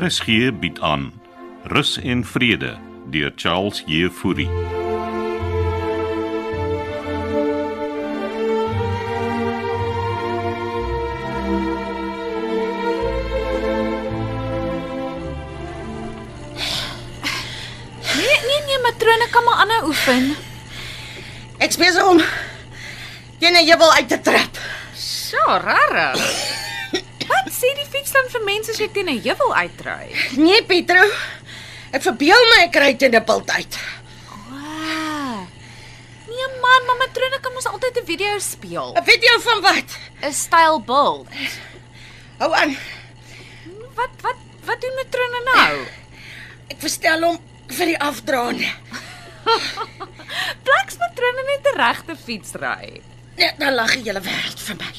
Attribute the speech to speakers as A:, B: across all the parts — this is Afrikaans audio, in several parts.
A: RSG bied aan Rus en Vrede deur Charles Jefouri.
B: Nee, nee, nee, matrone kan maar aanhou oefen.
C: Ek's besig om teen 'n jebel uit te trap.
B: So rarig. Wat sê die fiets dan vir mense as jy teen 'n heuwel uitry?
C: Nee, Pietro. Ek verbeel my ek ry teen 'n pult uit.
B: Wow. Nee man, maar matrone kan mos altyd 'n video speel.
C: 'n Video van wat?
B: 'n Styl bil.
C: Hou aan.
B: Wat wat wat doen matrone nou?
C: Ek verstel hom vir die afdraande.
B: Plaks matrone net 'n regte fiets ry.
C: Net dan lag die hele wêreld vir my.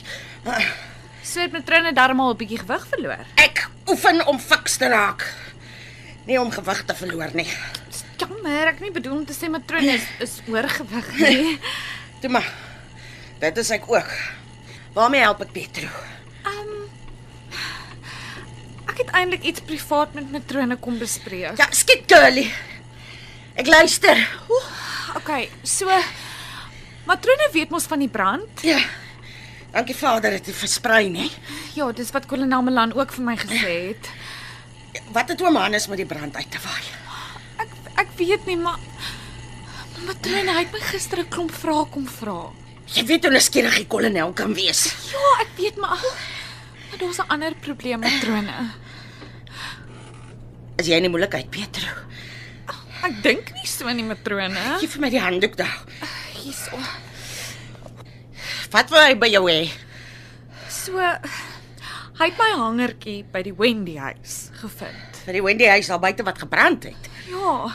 C: Ah,
B: So het matrone darmal 'n bietjie gewig verloor.
C: Ek oefen om fiks te raak. Nie om gewig te verloor nie.
B: Dis Jammer, ek het nie bedoel om te sê matrone is is oorgewig nie.
C: Toe maar. Dit is ek ook. Waarmee help ek Pietro?
B: Ehm um, ek het eintlik iets privaat met matrone kom bespreek.
C: Ja, skiet curly. Ek luister.
B: Oeh, okay, so matrone weet mos van die brand.
C: Ja. Dankie Vader dat jy versprei, nee. nê?
B: Ja, dis wat kolonel Melan ook vir my gesê het.
C: Wat het oom Hannes met die brand uit te waai?
B: Ek ek weet nie, maar maar matrone, hy het my gister 'n klomp vrae kom vra.
C: Jy weet hoe nuuskierig die kolonel kan wees.
B: Ja, ek weet maar maar daar's 'n ander probleem matrone.
C: As jy in die moeilikheid, Pietro.
B: Ek dink nie so nie matrone.
C: Gee vir my die handdoek daar.
B: Hierso.
C: Wat wil hy by jou hê?
B: So hy het my hangertjie by die Wendy huis gevind.
C: Vir die Wendy huis daar buite wat gebrand het.
B: Ja.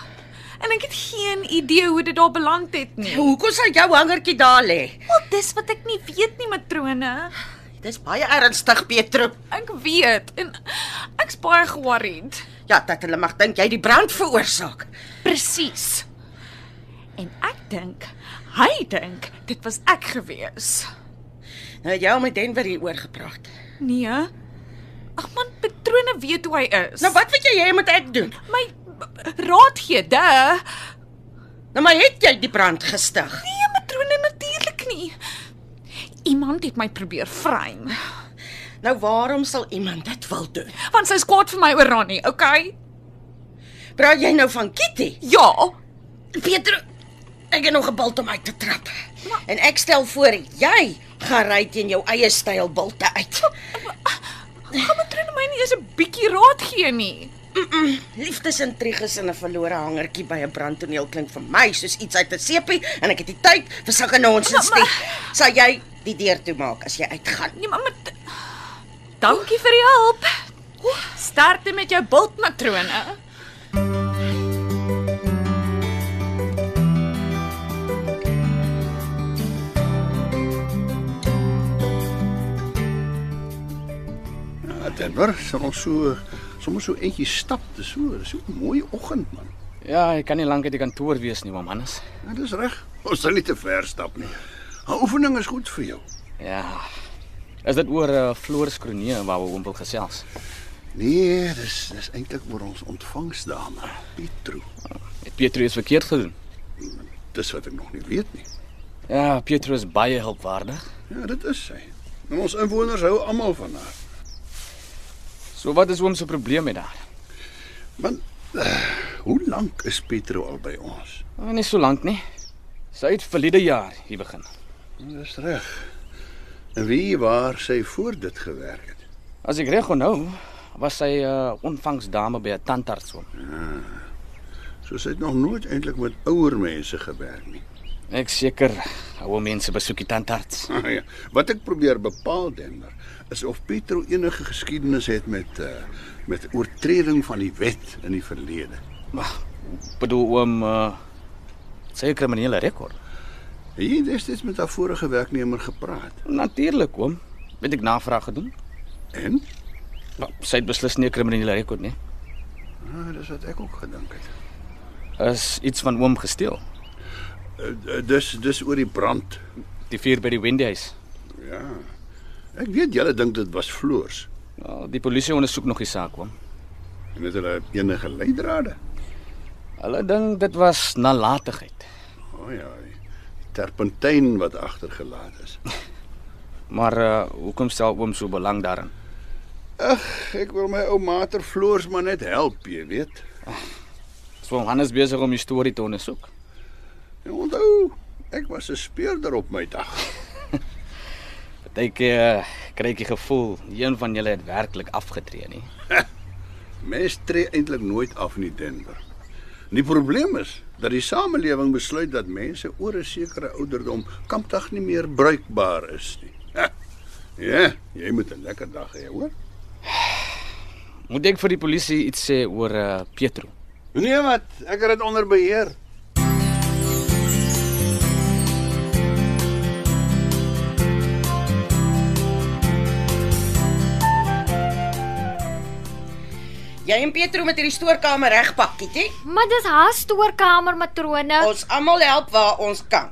B: En ek het geen idee hoe dit daar beland het nie.
C: Hoekom sal jou hangertjie daar lê?
B: Wel, dis wat ek nie weet nie, matrone.
C: Dis baie ernstig, Pietro.
B: Ek weet en ek's baie ge-worried.
C: Ja, dat hulle mag dink jy die brand veroorsaak.
B: Presies. En ek dink, hy dink dit was ek gewees.
C: Nou het jy al met Denver hieroor gepraat.
B: Nee. Ag man, patrone weet hoe hy is.
C: Nou wat weet jy jy moet ek doen?
B: my b- raad gee, duh.
C: Nou maar het jy die brand gestig.
B: Nee, matrone natuurlik nie. Iemand het my probeer vrein,
C: Nou waarom sal iemand dit wil doen?
B: want sy's kwaad vir my oor Ronnie, okay?
C: Praat jy nou van Kitty?
B: Ja.
C: Pietro, ek het nog 'n bult om uit te trap. En ek stel voor jy gaan ry teen jou eie styl bulte uit.
B: Gaan matrone my nie eers 'n bietjie raad gee nie.
C: Liefdesintriges en 'n verlore hangertjie by 'n brandtoneel klink vir my soos iets uit 'n sepie en ek het nie tyd vir sulke nonsens nie. Sal jy die deur toemaak as jy uitgaan?
B: Nee, maar mat- Dankie vir die hulp. Sterkte met jou bult matrone.
D: Ja, Denver, sal ons so sommer so eentjie stap, dis so, dis so 'n mooi oggend man.
E: Ja, ek kan nie lank uit die kantoor wees nie, oom Hannes.
D: Ja, dis reg. Ons sal nie te ver stap nie. 'n Oefening is goed vir jou.
E: Ja. Is dit oor uh, Floris Kronee waar we oom wil gesels?
D: Nee, dis dis eintlik oor ons ontvangsdame, Pietro.
E: Het Pietro iets verkeerd gedoen?
D: Dis wat ek nog nie weet nie.
E: Ja, Pietro is baie hulpwaardig.
D: Ja, dit is sy. En ons inwoners hou almal van haar.
E: So wat is oom se probleem met haar?
D: Man, uh, hoe lank is Pietro al by ons?
E: Oh, nie so lank nie. Sy het verlede jaar hier begin.
D: Dis reg. En wie waar sy voor dit gewerk het?
E: As ek reg onthou, was sy 'n uh, ontvangsdame by 'n tandarts oom.
D: So sy het nog nooit eintlik met ouer mense gewerk nie.
E: Ek seker ouer mense besoek die tandarts.
D: Ah, ja. Wat ek probeer bepaal Denver is of Pietro enige geskiedenis het met uh, met oortreding van die wet in die verlede.
E: Bedoel oom uh, sy 'n kriminele rekord.
D: Het jy destyds met haar vorige werknemer gepraat?
E: Natuurlik oom. Het ek navraag gedoen?
D: En?
E: Nou, Sy het beslis nie 'n kriminele rekord nie.
D: Ah, dis wat ek ook gedink het.
E: is iets van oom gesteel.
D: Uh, uh, dis dis oor die brand.
E: Die vuur by die Wendy's.
D: Ja. Ek weet julle dink dit was floors.
E: Nou, die polisie ondersoek nog die saak, oom.
D: En het hulle enige leidrade?
E: Hulle dink dit was nalatigheid,
D: O oh, ja, die terpentyn wat agtergelaat is.
E: maar uh, hoekom stel oom so belang daarin?
D: Ag, ek wil my ou mater Floors maar net help, jy weet.
E: So hom Hannes besig om die storie te ondersoek.
D: En onthou, ek was 'n speurder op my dag.
E: Partykeer uh, kry ek die gevoel die een van julle het werklik afgetree nie.
D: Mens tree eintlik nooit af in die Denver. En die probleem is dat die samelewing besluit dat mense oor 'n sekere ouderdom kampdag nie meer bruikbaar is nie. Ha, Ja, jy moet 'n lekker dag hê, hoor.
E: Moet ek vir die polisie iets sê oor uh, Pietro?
D: Nee, wat? Ek het dit onder beheer.
C: Jy en Pietro met hierdie stoorkamer regpak, Kitty.
F: Maar dis haar stoorkamer matrone.
C: Ons almal help waar ons kan.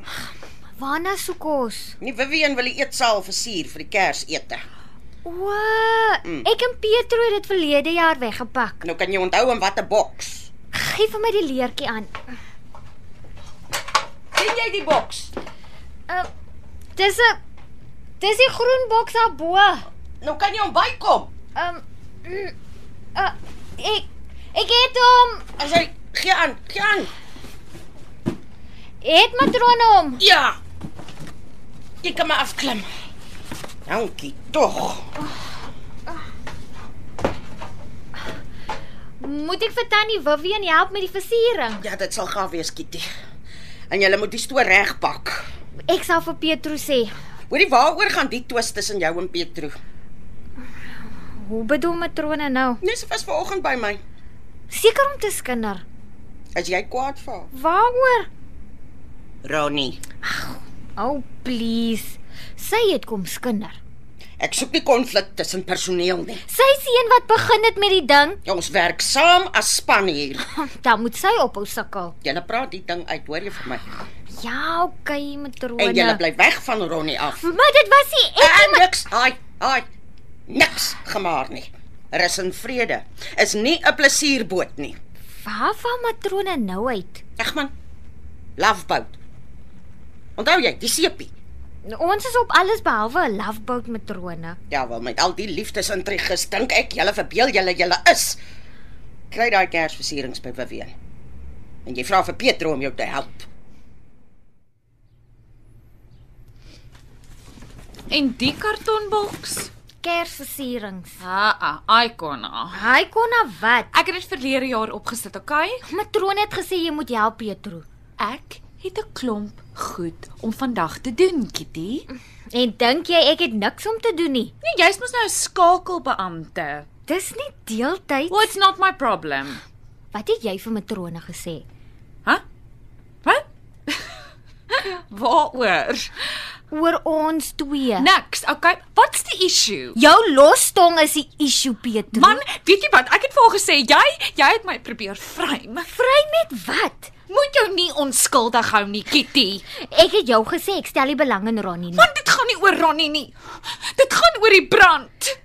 F: Waarna soek ons?
C: Nie Vivian wil die eetsaal versier vir die Kersete.
F: O, ek en Pietro het dit verlede jaar weggepak.
C: Nou kan jy onthou in watter boks.
F: Gee vir my die leertjie aan.
C: Sien jy die boks?
F: Uh, dis 'n Dis die groen boks daarbo.
C: Nou kan jy hom bykom.
F: Um mm, uh, ek ek het hom.
C: As hy gee aan, gee aan.
F: Het matrone hom.
C: Ja. Jy kan maar afklim. Dankie tog.
F: Moet ek vir tannie Vivian help met die versiering?
C: Ja, dit sal gaaf wees, Kitty. En jy moet die stoor regpak.
F: Ek sal vir Pietro sê.
C: Hoorie, waaroor gaan die twist tussen jou en Pietro?
F: Hoe bedoel matrone nou?
C: Nes was vanoggend by my.
F: Seker om te skinder.
C: As jy kwaad vir haar.
F: Waaroor?
C: Ronnie,
F: Oh, please. Sy het kom skinder.
C: ek soek nie konflik tussen personeel nie. Ja,
F: Sy seën wat begin het met die ding,
C: Ons werk saam as span hier.
F: dan moet sy ophou sukkel.
C: Julle praat die ding uit, hoor jy vir my?
F: Ja, okay, matrone.
C: En julle bly weg van Ronnie af.
F: Maar dit was nie ek nie,
C: En
F: ma-
C: Ah, niks, ai, ai. Niks gemaar nie. Rus in vrede is nie 'n plesierboot nie.
F: waarvan matrone nou uit?
C: Ag man. Loveboat. Onthou jy, die seepie.
F: Ons is op alles behalwe 'n loveboat matrone.
C: Ja, wel met al die liefdesintriges dink ek julle verbeel julle julle is. Kry daai kersversierings by Vivian. En jy vra vir Pietro om jou te help.
B: En die kartonboks?
F: Kersversierings.
B: Ha, ah, Icona.
F: Hy kon na wat?
B: Ek het dit verlede jaar opgesit, okay?
F: Matrone het gesê jy moet help Pietro.
B: Ek het 'n klomp goed om vandag te doen, Kitty.
F: En dink jy ek het niks om te doen nie?
B: Nee, jy's mos nou 'n skakelbeampte.
F: Dis nie deeltyd.
B: Well, it's not my problem.
F: Wat het jy vir matrone gesê?
B: Hæ? Wat? Waaroor?
F: Oor ons twee.
C: Nou-
B: Niks. Okay, what's the issue?
F: Jou losstong is die issue, Pietro.
B: Man, weet jy wat? Ek het vir haar gesê jy jy het my probeer vrym.
F: vry met wat?
B: Moet jou nie onskuldig hou nie, Kitty.
F: Ek het jou gesê ek stel nie belang in Ronnie nie.
B: Want dit gaan nie oor Ronnie nie. Dit gaan oor die brand.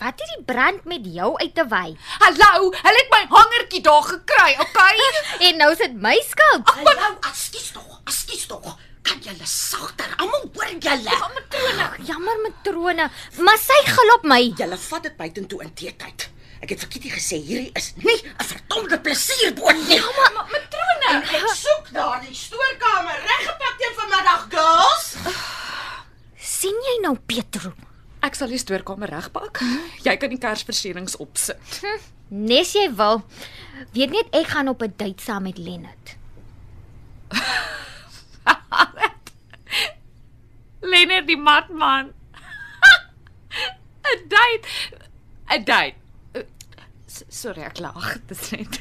F: Wat het die brand met jou uit te wy?
B: Hallo, hulle het my hangertjie daar gekry, okay?
F: En nou is dit my skuld.
C: Hallo, askies tog. Askies tog. Kan julle sagter? Almal hoor julle.
F: Ag, Jammer matrone, maar sy gil op my.
C: Julle vat dit buitentoe in teetyd. Ek het vir Kitty gesê hierdie is nie 'n verdomde plesierboot nie. Ja, maar
B: Matrone,
C: Ek soek daardie stoorkamer reggepak teen vanmiddag, girls.
F: sien jy nou Pietro?
B: ek sal die stoorkamer regpak. Jy kan die kersversierings opsit.
F: Nes jy wil. Weet net ek gaan op 'n date saam met Lennard.
B: Lennard die matman. 'n Date. 'n Date. Uh, s- Sorry, ek lag. Dit is net.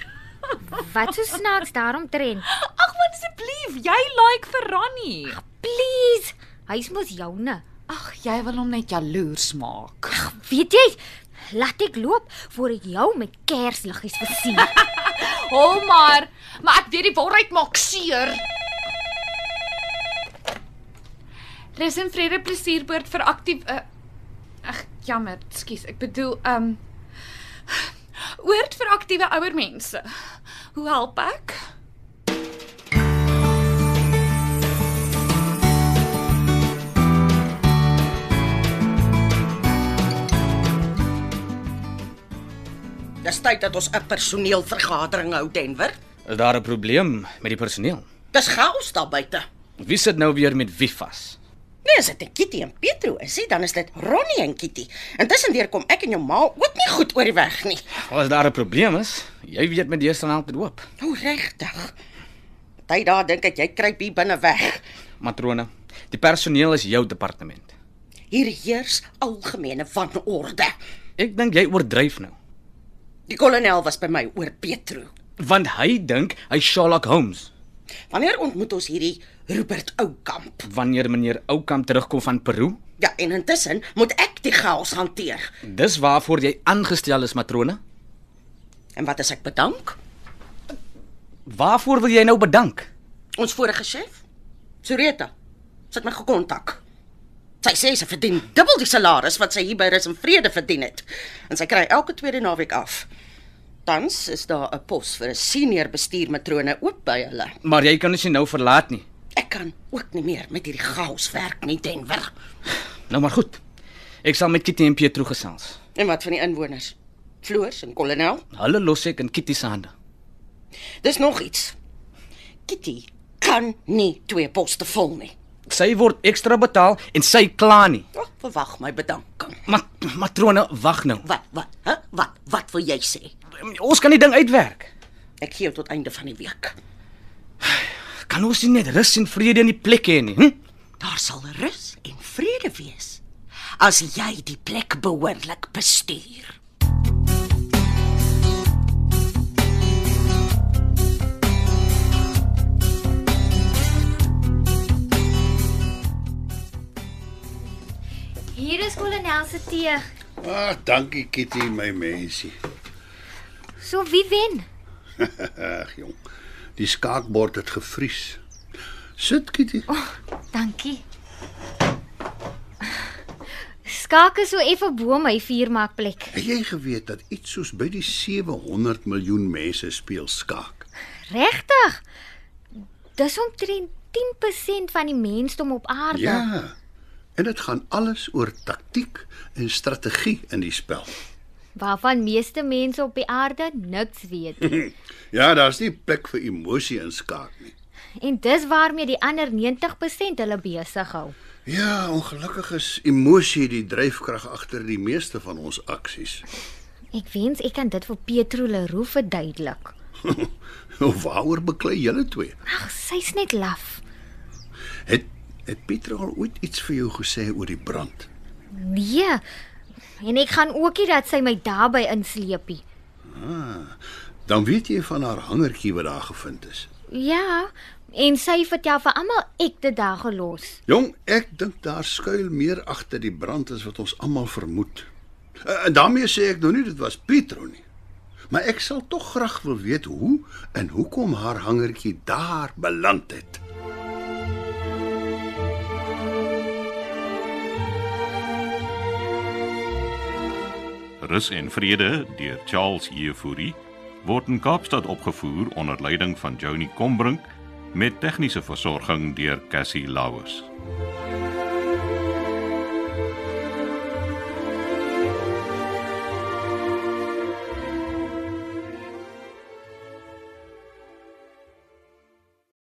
F: Wat so snaaks daaromtrent.
B: Ag man asseblief, jy like vir Ronnie.
F: Please, hy's mos joune.
B: Ag, jy wil hom net jaloers maak.
F: Weet jy? Laat ek loop voor ek jou met kersliggies versier.
B: Hou maar, maar ek weet die waarheid maak seer. Rus en vrede plesierboord vir aktief uh, Ag, jammer, skus. Ek bedoel, ehm um, oord vir aktiewe ouer mense. Hoe help ek?
C: Dis tyd dat ons 'n personeelvergadering hou, Denver.
E: Is daar 'n probleem met die personeel?
C: Dis chaos daar buite.
E: Wie sit nou weer met wie vas?
C: Nee, as dit Kitty en Petro is, nie, dan is dit Ronnie en Kitty. Intussen deur kom ek en jou ma ook nie goed oor die weg nie.
E: As daar 'n probleem is, jy weet met die staan help dit oop.
C: Nou regtig. Party daar dink ek jy kruip hier binne weg.
E: Matrone, die personeel is jou departement.
C: Hier heers algemene wanorde.
E: Ek dink jy oordryf nou,
C: Die kolonel was by my oor Petro.
E: want hy dink hy Sherlock Holmes
C: Wanneer ontmoet ons hierdie Rupert Oukamp?
E: wanneer meneer Oukamp terugkom van Peru.
C: Ja, en intussen moet ek die chaos hanteer.
E: Dis waarvoor jy aangestel is, matrone.
C: En wat as ek bedank?
E: Waarvoor wil jy nou bedank?
C: Ons vorige chef, Sureta, sy het my gekontak. Sy sê sy verdien dubbel die salaris wat sy hier by Rus en Vrede verdien het en sy kry elke tweede naweek af. Tans is daar 'n pos vir 'n senior bestuurmatrone oop by hulle.
E: Maar jy kan ons nie nou verlaat nie.
C: Ek kan ook nie meer met hierdie chaos werk nie, Denver.
E: Nou maar goed. Ek sal met Kitty en Pietro gesels.
C: En wat van die inwoners? Floors en kolonel?
E: Hulle los ek in Kitty se hande.
C: Dis nog iets. Kitty kan nie twee poste vul nie.
E: Sy word ekstra betaal en sy kla nie.
C: Oh, verwag my bedanking.
E: Maar matrone, wag nou.
C: Wat wat? Hè? Wat wat wil jy sê?
E: Ons kan die ding uitwerk.
C: Ek gee jou tot einde van die week.
E: Kan ons nie net rus en vrede in die plek hê nie? Hm?
C: Daar sal rus en vrede wees as jy die plek behoorlik bestuur.
F: Hier is kolonel se tee.
D: Ah, dankie Kitty, my mensie.
F: So wie wen?
D: Ag jong. Die skaakbord het gevries. Sit Kitty.
F: Dankie. Skake so effe bo my vuurmaakplek.
D: Het jy geweet dat iets soos by die 700 miljoen mense speel skaak?
F: Regtig? Dis omtrent 10% van die mensdom op aarde.
D: Ja. En dit gaan alles oor taktiek en strategie in die spel.
F: Waarvan meeste mense op die aarde niks weet. nie.
D: Ja, daar's nie plek vir emosie in skaak nie.
F: en dis waarmee die ander 90% hulle besig hou.
D: Ja, ongelukkig is emosie die dryfkrag agter die meeste van ons aksies.
F: Ek wens ek kan dit vir Petro Leroux verduidelik.
D: Waaroor beklei julle twee?
F: Ag, sy's net laf.
D: Het het Pieter al ooit iets vir jou gesê oor die brand?
F: Nee. En ek gaan ook nie dat sy my daarbey insleepie.
D: Dan weet jy van haar hangertjie wat daar gevind is.
F: Ja, en sy vertel vir almal ek dit daar gelos.
D: Jong, ek dink daar skuil meer agter die brand as wat ons almal vermoed. Eh, En daarmee sê ek nou nie dit was Pietro nie. Maar ek sal tog graag wil weet hoe en hoekom haar hangertjie daar beland het.
A: Rus en Vrede deur Charles Jefouri word in Kaapstad opgevoer onder leiding van Johnny Combrink met tegniese versorging deur Cassie Lauers.